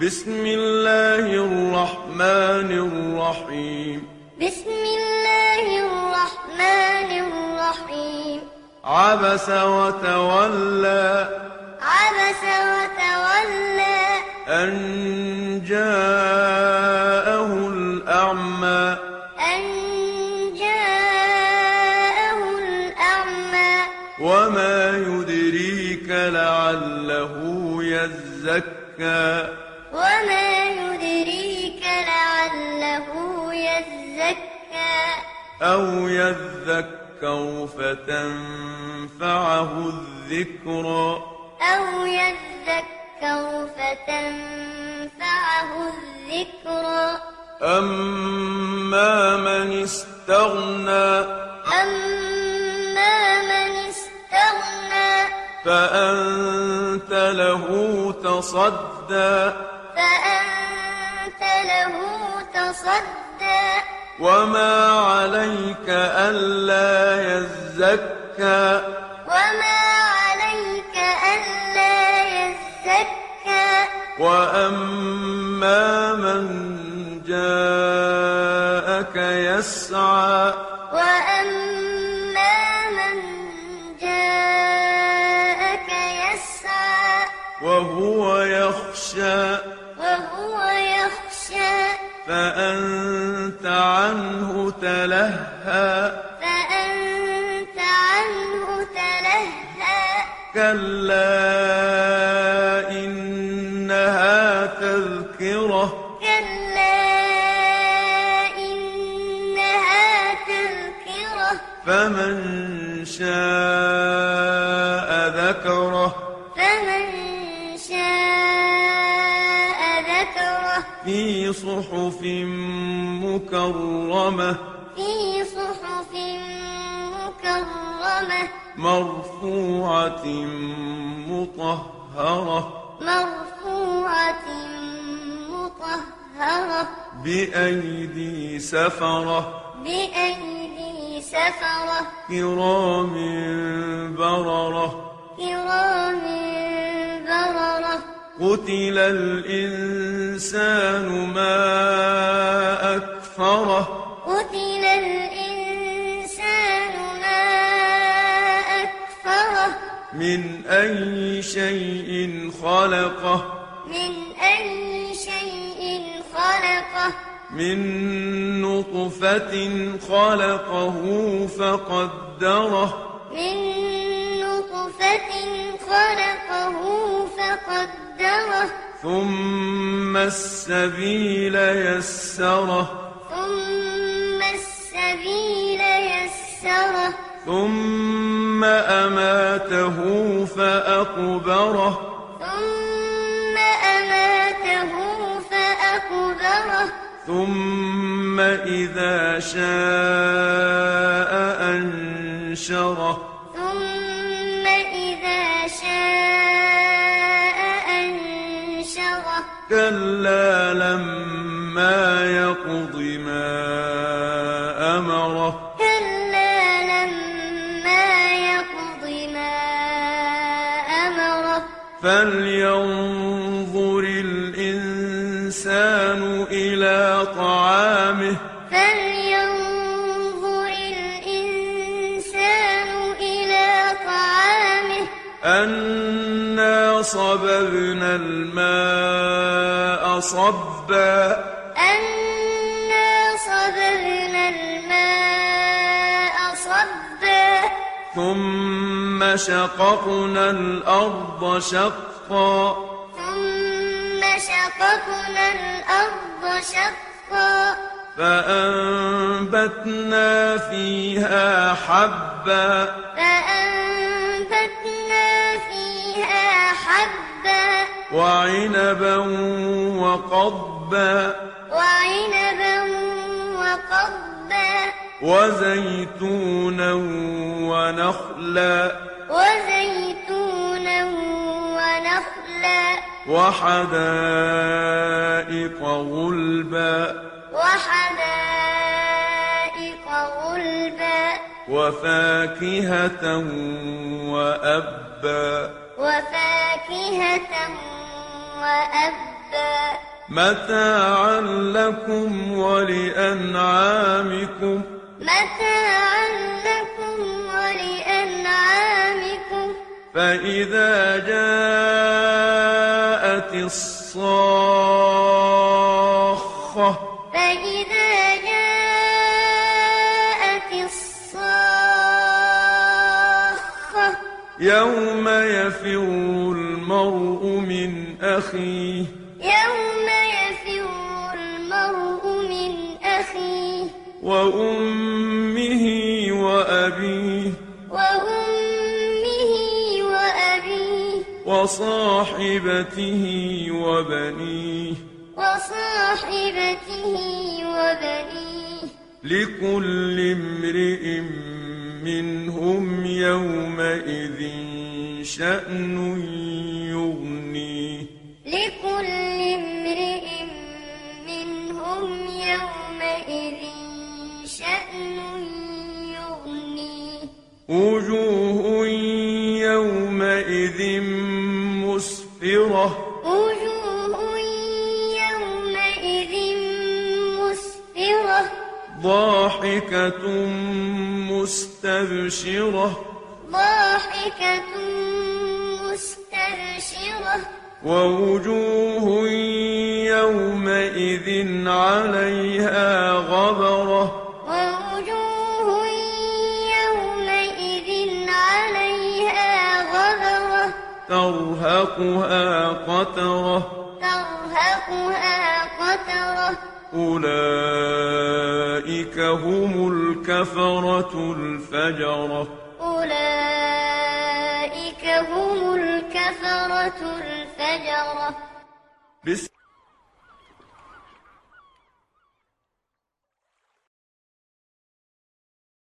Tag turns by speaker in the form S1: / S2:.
S1: بسم الله الرحمن الرحيم
S2: بسم الله الرحمن الرحيم
S1: عبس وتولى
S2: عبس وتولى
S1: أن جاءه الأعمى
S2: أن جاءه الأعمى
S1: وما يدريك لعله يزكى
S2: وما يدريك لعله يزكى
S1: أو يذكر فتنفعه الذكرى
S2: أو يذكر فتنفعه الذكرى
S1: أما من استغنى
S2: أما من استغنى
S1: فأنت له تصدى
S2: فأنت له تصدى
S1: وما عليك ألا يزكى
S2: وما عليك ألا يزكى
S1: وأما من جاءك يسعى
S2: وأما من جاءك يسعى
S1: وهو يخشى
S2: وهو يخشى
S1: فأنت عنه تلهى
S2: فأنت عنه تلهى
S1: كلا إنها تذكرة
S2: كلا إنها تذكرة
S1: فمن شاء ذكره
S2: فمن شاء ذكره
S1: في صحف مكرمة
S2: في صحف مكرمة
S1: مرفوعة مطهرة
S2: مرفوعة مطهرة
S1: بأيدي سفرة
S2: بأيدي سفرة
S1: كرام بررة
S2: كرام بررة
S1: قتل الإنسان ما أكفره
S2: قتل الإنسان ما أكفره
S1: من أي شيء خلقه
S2: من أي شيء خلقه
S1: من نطفة خلقه فقدره
S2: من نطفة خلقه فقدره
S1: ثم السبيل يسره
S2: ثم السبيل يسره
S1: ثم أماته فأقبره
S2: ثم أماته فأقبره
S1: ثم إذا شاء أنشره
S2: ثم إذا شاء أنشره
S1: كلا لما يقض ما أمره
S2: كلا لما يقض ما أمره
S1: فلينظر الإنسان إلى طعامه
S2: فلينظر الإنسان إلى طعامه
S1: أنا صببنا الماء صبا
S2: أنا صببنا الماء صبا
S1: ثم شققنا الأرض شقا
S2: ثم شققنا الأرض شقا
S1: فأنبتنا فيها حبا
S2: فأنبتنا فيها حبا
S1: وعنبا وقضبا
S2: وعنبا وقضبا
S1: وزيتونا ونخلا
S2: وزيتونا ونخلا
S1: وحدائق غلبا
S2: وحدائق غلبا
S1: وفاكهة وأبا
S2: وفاكهة وأبا
S1: متاعا لكم ولأنعامكم
S2: متاعا لكم ولأنعامكم
S1: فإذا جاءت الصاخة
S2: فإذا جاءت الصاخة
S1: يوم يفر المرء من أخيه
S2: يوم يفر المرء من أخيه
S1: وأمه وأبيه
S2: وأمه وأبيه
S1: وصاحبته وبنيه
S2: وصاحبته وبنيه
S1: لكل امرئ منهم يومئذ شأن يغنيه
S2: لكل امرئ منهم يومئذ شأن يغنيه
S1: وجوه يومئذ مسفرة
S2: وجوه يومئذ مسفرة
S1: ضاحكة مستبشرة
S2: ضاحكة مستبشرة
S1: ووجوه يومئذ عليها غبرة
S2: ووجوه يومئذ عليها غبرة
S1: ترهقها قترة
S2: ترهقها قترة
S1: أولئك هم الكفرة الفجرة
S2: أولئك هم الكفرة الفجرة
S1: بسم